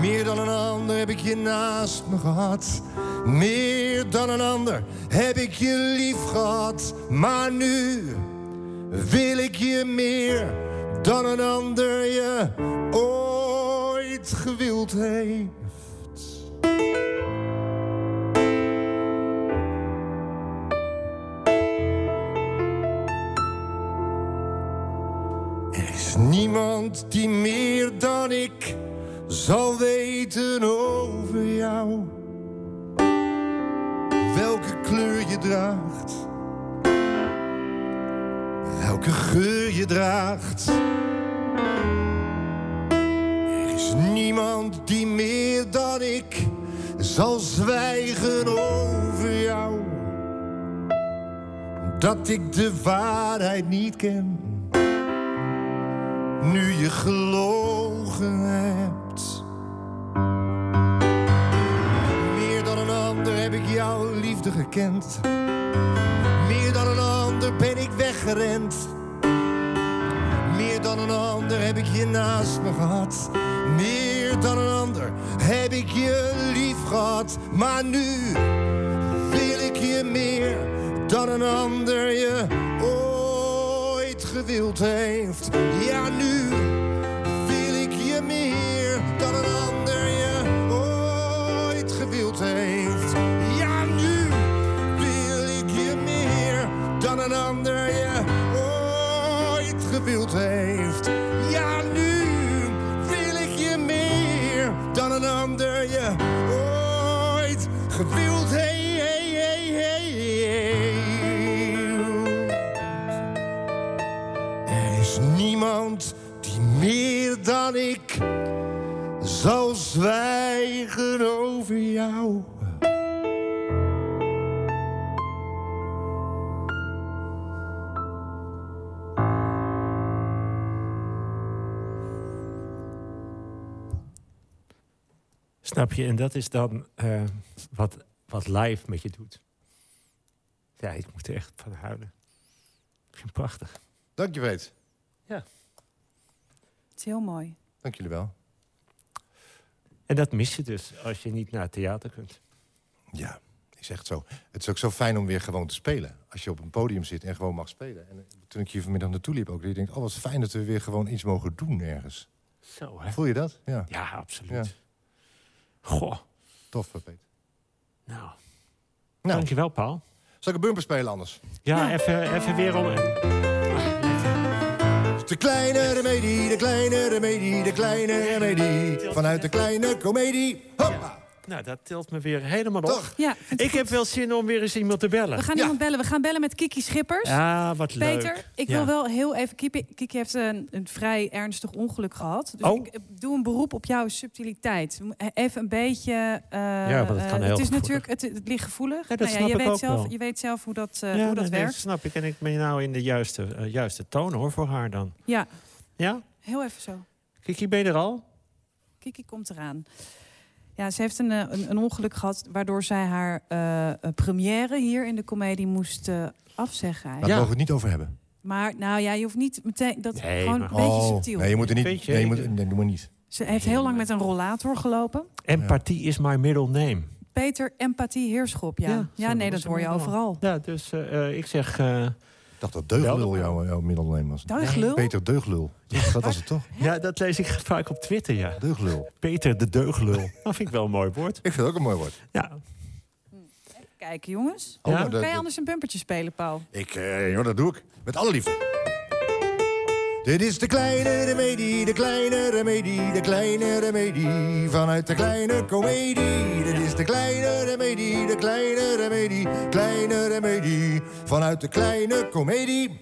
Meer dan een ander heb ik je naast me gehad. Meer dan een ander heb ik je lief gehad. Maar nu wil ik je meer dan een ander je ooit gewild heeft. Er is niemand die meer dan ik zal weten over jou. Welke kleur je draagt. Welke geur je draagt. Er is niemand die meer dan ik zal zwijgen over jou. Dat ik de waarheid niet ken. Nu je gelogen hebt. Meer dan een ander heb ik jouw liefde gekend. Meer dan een ander ben ik weggerend. Meer dan een ander. ander heb ik je naast me gehad. Meer dan een ander heb ik je lief gehad. Maar nu wil ik je meer dan een ander je ooit gewild heeft. Ja, nu wil ik je meer dan een ander je ooit gewild heeft. Ja, nu wil ik je meer dan een ander je ooit gewild heeft. Ja, nu wil ik je meer dan een ander je ooit gewild heeft. Er is niemand die meer dan ik zal zwijgen over jou.
Snap je? En dat is dan eh, wat, wat live met je doet. Ja, ik moet er echt van houden. Ik vind het prachtig.
Dank je, weet.
Het is heel mooi.
Dank jullie wel.
En dat mis je dus als je niet naar het theater kunt.
Ja, is echt zo. Het is ook zo fijn om weer gewoon te spelen. Als je op een podium zit en gewoon mag spelen. En eh, toen ik hier vanmiddag naartoe liep ook, dat je denkt... oh, wat fijn dat we weer gewoon iets mogen doen ergens.
Zo, hè?
Voel je dat? Ja,
Ja, absoluut. Goh,
tof, eh, Peter.
nou.
Nou.
Dankjewel, Paul.
Zal ik een bumper spelen anders?
Ja, even, even weer om.
De kleine remedie, de kleine remedie, de kleine remedie. Vanuit de kleine komedie. Hoppa!
Nou, dat tilt me weer helemaal op.
Toch?
Ja,
Ik heb wel zin om weer eens iemand te
we
bellen.
gaan
Ja.
iemand bellen. We gaan bellen met Kiki Schippers.
Ja, wat leuk.
Peter, ik
Ja.
wil wel heel even... Kiki, Kiki heeft een, een vrij ernstig ongeluk gehad. Dus
Oh.
ik eh, doe een beroep op jouw subtiliteit. We mo- eh, Even een beetje... eh,
want het
eh,
kan heel
Het is
gevoelig.
natuurlijk... Het, het ligt gevoelig. Nou
Ja, dat
ja,
snap
je,
ik
weet
ook
zelf,
wel.
je weet zelf hoe dat, eh,
Ja,
hoe dat
nee, nee,
werkt.
snap ik. En ik ben nou in de juiste, eh, juiste toon hoor voor haar dan.
Ja,
Ja?
heel even zo.
Kiki, ben je er al?
Kiki komt eraan. Ja, ze heeft een, eh, een, een ongeluk gehad waardoor zij haar eh, eh, première hier in de komedie moest eh, afzeggen.
Daar
eigenlijk.
Ja.
mogen we het niet over hebben.
Maar nou ja, je hoeft niet meteen... Dat,
Nee,
gewoon
maar-
een beetje
Oh,
subtiel.
Nee, je moet er niet...
Vind je-
Nee, je moet, nee, doe maar niet.
Ze heeft heel lang met een rollator gelopen.
Empathie is my middle name.
Peter, empathie, heerschop, ja.
Ja,
Ja,
zo
nee,
was
dat
het
hoor je
allemaal.
overal.
Ja, dus eh, eh, ik zeg... eh,
Ik dacht dat deuglul jouw, jouw middelneem was.
Deuglul?
Peter Deuglul. Dat was het toch?
ja, dat lees ik [LAUGHS] vaak op Twitter, ja.
Deuglul.
Peter de deuglul. [LAUGHS] dat vind ik wel een mooi woord.
Ik vind het ook een mooi woord.
Ja,
Kijk, jongens.
Oh,
Ja?
nou, dat-
Kan je
dat-
anders een bumpertje spelen, Paul?
Ik, eh, joh, dat doe ik. Met alle liefde. Dit is de kleine remedie, de kleine remedie, de kleine remedie. Vanuit de kleine komedie. Dit is de kleine remedie, de kleine remedie, kleine remedie. Vanuit de kleine komedie.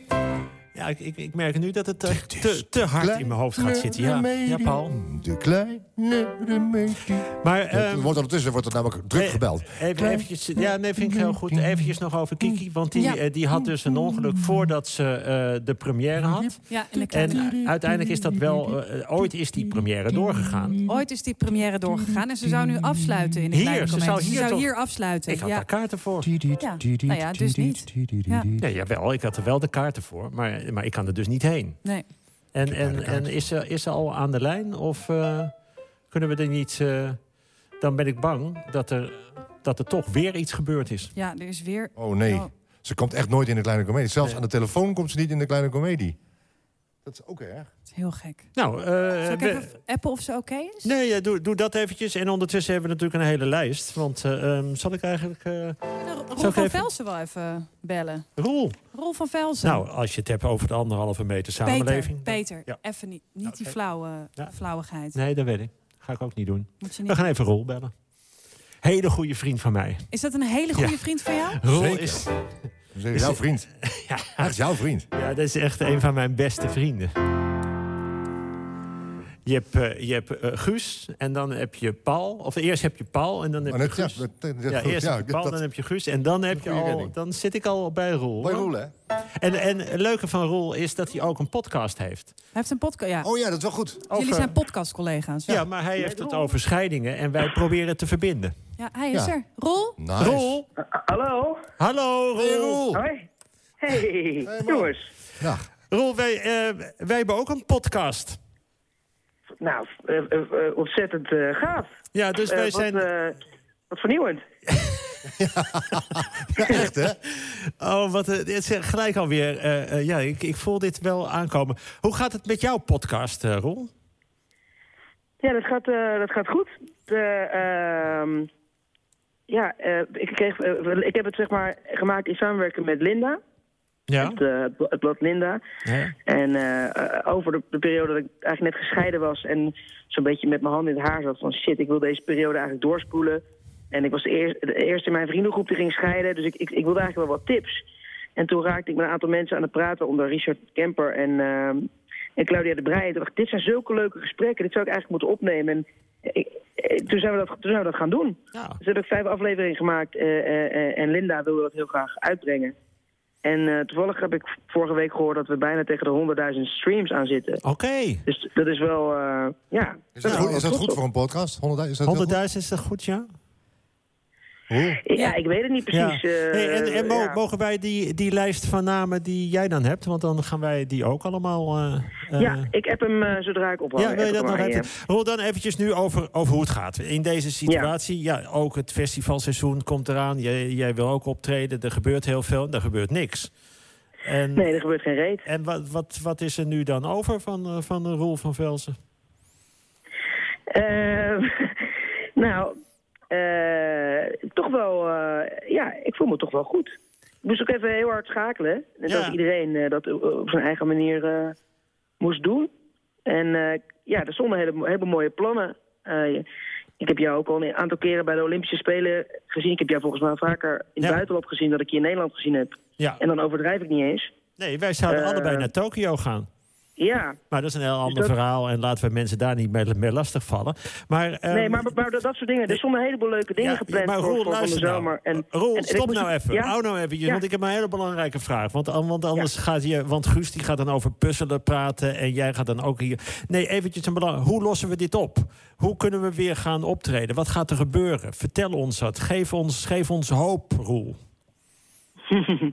ja ik, ik, ik merk nu dat het eh,
Dit is
te, te hard in mijn hoofd gaat
Kleine
zitten. Ja, ja
remedie,
Paul.
De kleine remedie.
Maar...
Het
ehm,
wordt ondertussen wordt het namelijk druk
eh,
gebeld.
Even, eventjes, ja, nee, vind ik heel goed. Eventjes nog over Kiki, want die,
Ja.
eh, die had dus een ongeluk voordat ze eh, de première had.
Ja, en, de
En
kleine-
eh, uiteindelijk is dat wel... eh, eh, ooit is die première doorgegaan.
Ooit is die première doorgegaan en ze zou nu afsluiten in de
Hier,
kleine
ze
comedie.
zou hier toch-
afsluiten.
Ik had
ja.
daar kaarten voor.
Ja, nou ja, dus niet. Ja.
Nee, jawel, ik had er wel de kaarten voor, maar, maar ik kan er dus niet heen.
Nee.
En,
heb daar
en,
de kaart
en is, ze, is ze al aan de lijn of eh, kunnen we er niet... eh, dan ben ik bang dat er, dat er toch weer iets gebeurd is.
ja, er is weer...
Oh nee,
Oh.
ze komt echt nooit in de kleine komedie. Zelfs
Nee.
aan de telefoon komt ze niet in de kleine komedie. Dat is ook erg.
Het is heel gek.
Nou, eh,
Zal ik
we-
even appen of ze oké is?
nee, ja, doe, doe dat eventjes. En ondertussen hebben we natuurlijk een hele lijst. Want eh, ehm, zal ik eigenlijk... eh,
Nou, Rolf
Zal ik
van
even-
Velsen wel even bellen.
Roel,
Rolf van Velsen.
nou, als je het hebt over de anderhalve
Peter,
meter samenleving...
Peter
Ja. Nou,
even niet, niet die
oké.
flauwe,
Ja.
flauwigheid.
Nee, dat weet ik. Ga ik ook niet doen.
Moet je
We
niet...
gaan even Roel bellen. Hele goede vriend van mij.
Is dat een hele goede
Ja.
vriend van
[LAUGHS]
jou?
Roel
Zeker.
is...
Dat is jouw vriend. Echt jouw vriend.
[LAUGHS] Ja, dat is echt een van mijn beste vrienden. Je hebt, eh, je hebt eh, Guus en dan heb je Paul. Of eerst heb je Paul en dan heb
Maar
je
net- ja,
Guus.
dat- dat-
Ja,
dat-
eerst
ja,
heb je Paul,
dat-
dan heb je Guus. En dan, heb je
goede
al,
redding.
dan zit ik al bij Roel.
Mooi
hoor.
roel, hè?
En, en het leuke van Roel is dat hij ook een podcast heeft.
Hij heeft een podcast. Ja.
Oh ja, dat is wel goed.
Jullie
Over-
zijn podcastcollega's.
Ja, maar hij heeft het over scheidingen en wij proberen het te verbinden.
Ja, hij is
Ja.
er. Rol?
Nice.
Roel,
Hallo?
hallo Roel.
Hey, Roel.
Hoi? Hey, jongens.
Dag.
Roel, wij, eh, wij hebben ook een podcast.
Nou, eh, eh, eh, ontzettend eh, gaaf.
Ja, dus
Eh,
wij
wat,
zijn...
eh, wat vernieuwend.
Echt, hè?
Oh, wat, eh, het is gelijk alweer. eh, eh, ja, ik, ik voel dit wel aankomen. Hoe gaat het met jouw podcast, eh, Roel?
Ja, dat gaat, eh, dat gaat goed. De, ehm, ja, eh, ik, kreeg, eh, ik heb het zeg maar gemaakt in samenwerking met Linda.
Ja.
Het, eh, het bla- het blad Linda.
Ja.
En eh, eh, over de, de periode dat ik eigenlijk net gescheiden was en zo'n beetje met mijn hand in het haar zat van shit, ik wil deze periode eigenlijk doorspoelen. En ik was de, eer- de eerste in mijn vriendengroep die ging scheiden, dus ik, ik, ik wilde eigenlijk wel wat tips. En toen raakte ik met een aantal mensen aan het praten, onder Richard Kemper en, ehm, en Claudia de Breij. En Toen dacht ik, dit zijn zulke leuke gesprekken, dit zou ik eigenlijk moeten opnemen. En ik- eh, toen, zijn we dat, toen zijn we dat gaan doen.
Ja.
Dus heb ik vijf afleveringen gemaakt eh, eh, eh, en Linda wilde dat heel graag uitbrengen. En eh, toevallig heb ik vorige week gehoord dat we bijna tegen de 100.000 streams aan zitten.
Oké.
Dus dat is wel, eh, ja.
Is dat,
Nou,
goed, is dat
trots
goed
op.
voor een podcast? 100.000? Is dat heel
100.000 is dat goed, ja?
Ja, ik weet het niet precies.
ja.
eh,
Hey, en en mo-
ja.
mogen wij die, die lijst van namen die jij dan hebt, want dan gaan wij die ook allemaal. eh, eh,
Ja, ik heb hem eh, zodra ik ophoud.
ja, wil je
heb ik
dat nog
hem aan
even? Roel, dan eventjes nu over, over hoe het gaat. In deze situatie, ja, ook het festivalseizoen komt eraan. Jij, jij wil ook optreden, er gebeurt heel veel, en er gebeurt niks. En,
je. Nee, er gebeurt geen reet.
en wat, wat, wat is er nu dan over van, eh, van eh, Roel van Velsen?
Eh, [LAUGHS] nou, eh, toch wel, eh, ja, ik voel me toch wel goed. Ik moest ook even heel hard schakelen. Net
Ja.
als iedereen eh, dat op zijn eigen manier eh, moest doen. En eh, ja, er stonden hele, hele mooie plannen. Eh, ik heb jou ook al een aantal keren bij de Olympische Spelen gezien. Ik heb jou volgens mij vaker in
Ja.
het buitenland gezien dan ik je in Nederland gezien heb.
Ja,
En dan overdrijf ik niet eens.
nee, wij zouden
Eh,
allebei naar Tokio gaan.
Ja,
Maar dat is een heel ander
dat-
verhaal en laten we mensen daar niet mee, mee lastigvallen. Maar, ehm, dus-
nee, maar, maar dat, dat soort dingen. Er stonden een heleboel leuke dingen
Ja,
gepland
maar
voor-
Roel,
voor, van de
luister nou.
zomer. En,
Roel,
en- en ik
stop
moest-
nou even.
Ja?
Hou nou even,
Ja.
want ik heb een hele belangrijke vraag. Want, an- want anders gaat je, want Guus die gaat dan over puzzelen praten en jij gaat dan ook hier. Nee, eventjes een belang. Hoe lossen we dit op? Hoe kunnen we weer gaan optreden? Wat gaat er gebeuren? Vertel ons dat. Geef ons, geef ons hoop, Roel.
[LAUGHS]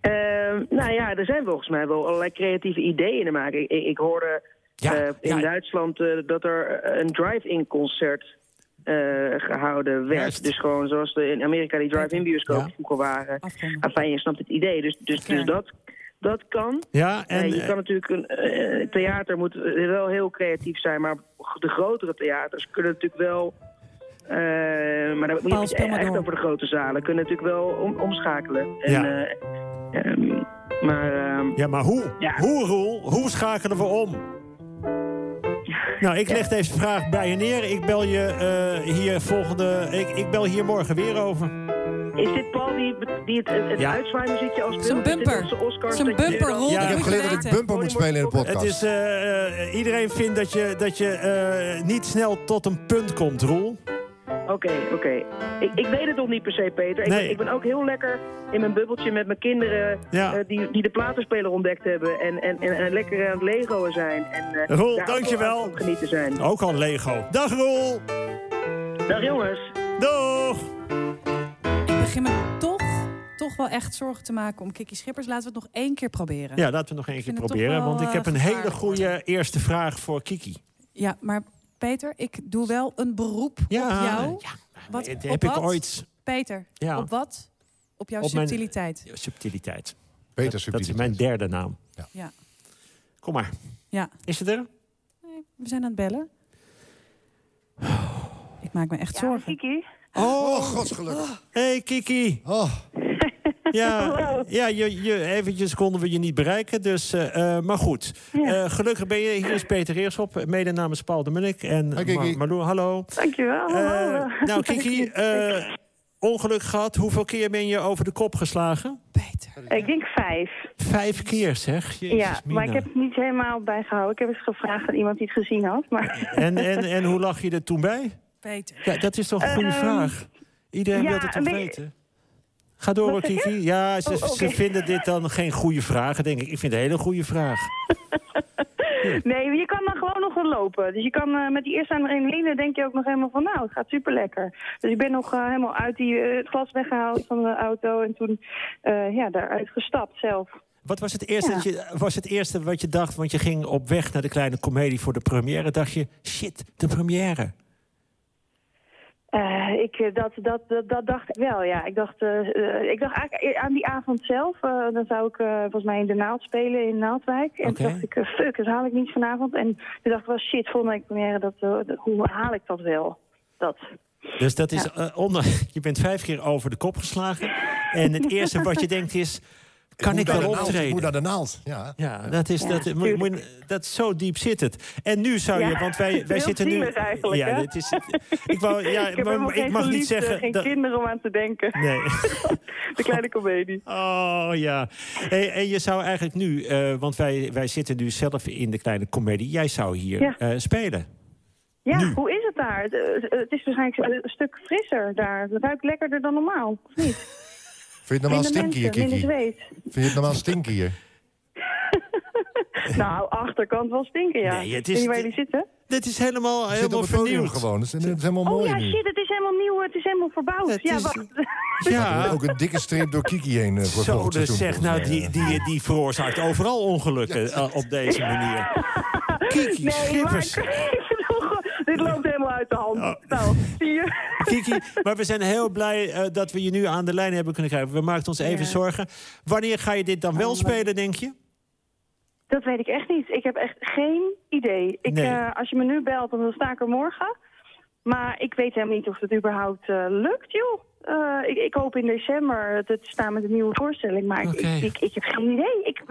Ehm, nou ja, er zijn volgens mij wel allerlei creatieve ideeën in te maken. Ik, ik, ik hoorde
Ja,
eh, in
ja.
Duitsland eh, dat er een drive-in concert eh, gehouden werd.
Juist.
Dus gewoon zoals de, in Amerika die drive-in bioscopen
Ja.
vroeger waren.
Afronden.
Enfin, je snapt het idee. Dus, dus,
Ja.
dus dat, dat kan.
Ja, en
Eh, je
eh,
kan natuurlijk een eh, theater moet eh, wel heel creatief zijn, maar de grotere theaters kunnen natuurlijk wel. eh, maar dan moet
Paul,
je
speel maar
echt
door.
over de grote zalen kunnen natuurlijk wel om- omschakelen. En,
Ja.
eh, ehm, maar ehm,
ja maar hoe?
Ja.
Hoe, Roel? Hoe schakelen we om? Nou, ik leg deze vraag bij je neer. Ik bel je eh, hier volgende. Ik, ik bel hier morgen weer over.
is dit Paul die, die het, het, het
Ja.
uitzwaaimuziekje als
Zijn bumper. Zijn bumper, Roel,
Ja.
dat moet
goed? Ik
Ik
heb
je
geleerd dat
weten.
ik bumper moet spelen in de podcast.
Het is, eh, eh, iedereen vindt dat je, dat je eh, niet snel tot een punt komt, Roel.
Oké, oké. Ik, ik weet het nog niet per se, Peter. Ik,
Nee.
ben, ik ben ook heel lekker in mijn bubbeltje met mijn kinderen...
Ja.
eh, die, die de platenspeler ontdekt hebben en, en, en, en lekker aan het legoen zijn. En, eh,
Roel,
daar ook
dankjewel. Oh.
van genieten zijn.
Ook al Lego. Dag Roel!
Dag jongens.
Doeg!
Ik begin me toch, toch wel echt zorgen te maken om Kiki Schippers. Laten we het nog één keer proberen.
Ja, laten we nog één keer
vind het
proberen.
toch wel,
Want ik
eh,
heb een hele
gevaarlijk
goede eerste vraag voor Kiki.
Ja, maar Peter, ik doe wel een beroep
Ja,
op jou.
ja.
Wat-
Het-
op
heb ik
wat?
ooit
Peter,
Ja.
op wat? Op jouw
Op mijn-
subtiliteit.
subtiliteit.
Peter
Dat is
subtiel.
mijn derde naam.
Ja.
Kom maar.
ja,
Is het er?
we zijn aan het bellen. Ik maak me echt zorgen.
Kiki,
Oh, godsgelukkig.
Hey Kiki!
Oh,
[LAUGHS]
Ja, ja je, je, eventjes konden we je niet bereiken. Dus, eh, eh, maar goed, Eh, gelukkig ben je. Hier is Peter Eerschop, mede namens Paul de Munnik. En
Hi, Kiki.
Ma- Marloe, hallo.
dankjewel. Hallo.
Eh,
[LAUGHS]
nou, Kiki, eh, ongeluk gehad. Hoeveel keer ben je over de kop geslagen?
Peter.
ik denk vijf.
Vijf keer, zeg. Jezus,
ja, maar ik
Mina.
heb het niet helemaal bijgehouden. Ik heb het gevraagd aan iemand die het gezien had. Maar
En, en, en hoe lag je er toen bij?
Peter.
Ja, dat is toch een goede
Ehm,
vraag. Iedereen
ja,
wil het toch
weet-
weten? Ga door, hoor,
Wat zeg je?
Kiki. Ja, ze,
Oh, oké.
ze vinden dit dan geen goede vragen, denk ik. Ik vind het een hele goede vraag.
nee, je kan dan gewoon nog wel lopen. Dus je kan eh, met die eerste adrenaline denk je ook nog helemaal van... nou, het gaat super lekker. Dus ik ben nog eh, helemaal uit die, eh, het glas weggehaald van de auto... en toen eh, ja, daaruit gestapt zelf.
Wat was het, eerste
Ja.
dat je, was het eerste wat je dacht? Want je ging op weg naar de kleine komedie voor de première. Dacht je, shit, de première.
Eh, ik, eh, dat, dat, dat, dat dacht ik wel, ja. Ik dacht, eh, eh, ik dacht eigenlijk eer- aan die avond zelf. eh, dan zou ik eh, volgens mij in de naald spelen in Naaldwijk. En toen
Oké.
dacht ik, eh, fuck, dat haal ik niet vanavond. En toen dacht ik wel, shit, volgende week première, dat, eh, dat- hoe haal ik dat wel? Dat.
Dus dat is eh, onder, [LAUGHS] je bent vijf keer over de kop geslagen. En het eerste wat je denkt is, kan
moet
ik
naar de
wel
naald, Ik moet
optreden?
naar de naald. Ja.
Ja, dat is,
Ja,
dat, eh, moet-
tuurlijk.
moet- dat, zo diep zit het. En nu zou je,
Ja,
want
[LAUGHS]
wij, wij
heel
zitten nu...
zielig eigenlijk,
ja,
hè?
dit is, ik, wou, ja,
[LAUGHS] ik heb
maar
helemaal
ik
geen
mag niet
geliefde,
zeggen...
geen
dat-
kinderen om aan te denken.
nee.
[LAUGHS] De kleine komedie.
Oh ja. Hey, en je zou eigenlijk nu, eh, want wij, wij zitten nu zelf in de kleine komedie. Jij zou hier
Ja.
eh, spelen.
Ja, hoe is het daar? Het, eh, het is waarschijnlijk een stuk frisser daar. Het ruikt lekkerder dan normaal, of niet?
Vind je het normaal
Minder
stinky hier,
mensen, minder
Kiki?
zweet.
Vind
[LAUGHS]
je het normaal stinky hier?
Nou, achterkant wel stinken, ja.
Nee, het
Weet
is-
je waar jullie zitten?
Dit is helemaal,
Je zit
helemaal
op het podium
vernieuwd.
gewoon. Het is, het is helemaal
Oh
mooi
ja,
nu.
shit, het is helemaal nieuw, het is helemaal verbouwd.
Het
ja,
is-
wacht.
Er wordt
Ja.
Ook een dikke streep door Kiki heen eh, voor
Zo,
volgend
dus
seizoen,
zeg, nou,
volgens mij.
die, die, die veroorzaakt overal ongelukken eh, op deze manier. Kiki
nee, maar [LAUGHS]
Schippers.
ik bedoel, dit loopt helemaal uit de hand.
Oh.
Nou, zie je?
Kiki, maar we zijn heel blij eh, dat we je nu aan de lijn hebben kunnen krijgen. We maakten ons even
Ja.
zorgen. Wanneer ga je dit dan wel spelen, denk je?
Dat weet ik echt niet. Ik heb echt geen idee. Ik,
Nee.
eh, als je me nu belt, dan sta ik er morgen. Maar ik weet helemaal niet of het überhaupt eh, lukt, joh. Eh, ik, ik hoop in december te te staan met een nieuwe voorstelling. Maar ik-
Oké.
ik, ik, ik heb geen idee. Ik,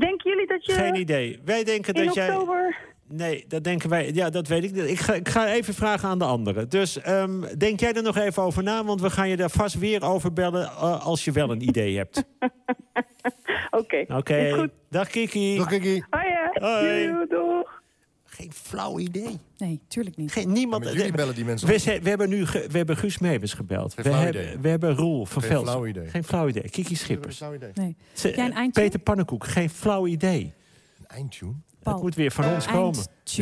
denken jullie dat je
Geen idee. Wij denken
in
dat jij...
oktober...
Nee, dat denken wij. Ja, dat weet ik. niet. Ik ga, ik ga even vragen aan de anderen. Dus ehm, denk jij er nog even over na, want we gaan je daar vast weer over bellen eh, als je wel een idee hebt.
[LAUGHS] Oké,
Oké.
is goed.
Dag Kiki.
Dag, Kiki.
Hoi, hè.
Hoi.
Joejoe, doeg.
Geen flauw idee.
Nee, tuurlijk niet.
Geen, niemand.
Met jullie bellen die mensen.
we, zijn- we hebben nu ge- we hebben Guus Meeuwis gebeld.
Geen
we,
flauw
hebben,
idee.
we hebben Roel van
Geen
Velsen.
flauw idee.
Geen flauw idee. Kiki Schippers.
Zou idee.
Nee.
Ze-
jij een eindje?
Peter Pannenkoek. Geen flauw idee.
Een eindtune?
Dat moet weer van ons
Eh, Eindtune.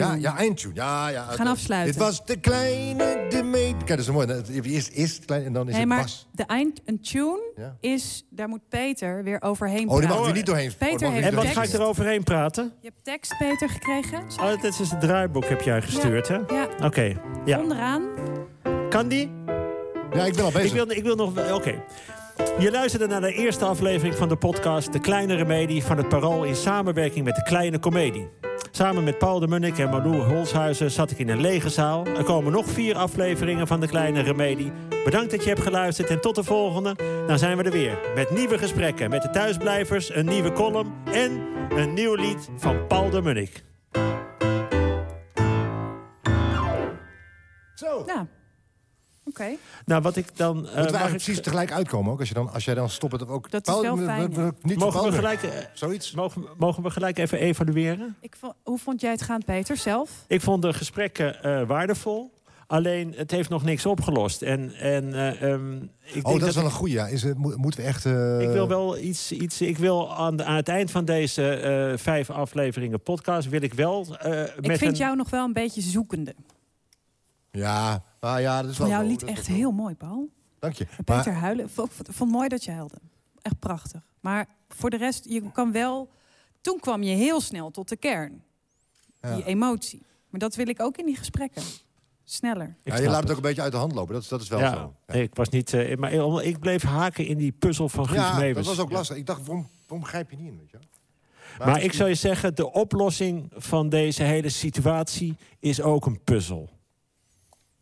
komen.
Ja, ja, eindtune. Ja, ja.
gaan afsluiten.
Dit was de kleine de meet. Kijk, dat is mooi. Dat- Eerst, eerst klein en dan is
Nee,
het
maar
bas.
de eind, een tune
Ja.
is, daar moet Peter weer overheen
Oh, daar
praten.
mag we niet doorheen. Oh, daar
Peter
mag u niet
heeft
En wat
doorheen.
ga ik eroverheen praten?
Je hebt tekst, Peter, gekregen.
Oh, dat is het draaiboek heb jij gestuurd, hè?
Ja,
Oké, ja.
onderaan.
Kan die?
Ja, ik ben al bezig.
Ik wil, ik wil nog... Oké. Je luisterde naar de eerste aflevering van de podcast... De Kleine Remedie van het Parool... in samenwerking met de Kleine Comedie. Samen met Paul de Munnik en Malou Holshuizen zat ik in een lege zaal. Er komen nog vier afleveringen van de Kleine Remedie. Bedankt dat je hebt geluisterd en tot de volgende. Dan zijn we er weer met nieuwe gesprekken met de thuisblijvers... een nieuwe column en een nieuw lied van Paul de Munnik.
Zo.
Ja. Oké.
Nou, wat ik dan... eh,
Moeten we
mag
eigenlijk
ik-
precies tegelijk uitkomen ook? Als, je dan, als jij dan stopt, het ook...
Dat is
Paul,
wel
we- we-
fijn,
we-
ja.
Niet
Mogen we,
veranderen.
gelijk, eh,
Zoiets.
mogen, mogen we gelijk even evalueren?
Ik vo- hoe vond jij het gaan, Peter, zelf?
Ik vond de gesprekken eh, waardevol. Alleen, het heeft nog niks opgelost. En, en eh, ehm, ik,
Oh,
denk
dat is
dat
wel een goeie. Ja. Is, het- mo- moeten we echt... eh,
ik wil wel iets... iets ik wil aan, de- aan het eind van deze eh, vijf afleveringen podcast... wil ik wel eh, met
Ik vind
een...
jou nog wel een beetje zoekende.
Ja, nou ja, dat is wel
Van jouw
zo.
lied
Dat is
echt
wel zo.
heel mooi, Paul.
Dank je.
Peter
Maar
huilen. Vond, vond- vond mooi dat je huilde. Echt prachtig. Maar voor de rest, je kan wel... Toen kwam je heel snel tot de kern.
Ja.
Die emotie. Maar dat wil ik ook in die gesprekken. Sneller.
Ik
ja, je
snap
laat het ook een beetje uit de hand lopen. Dat, is- dat is wel
ja,
zo. Ja,
nee, ik was niet... eh, maar ik- ik bleef haken in die puzzel van Guus
Ja,
Meeuwis.
dat was ook lastig. Ik dacht, waarom, waarom grijp je niet in? Weet je? wel?
Maar, ik zou je zeggen, de oplossing van deze hele situatie... is ook een puzzel.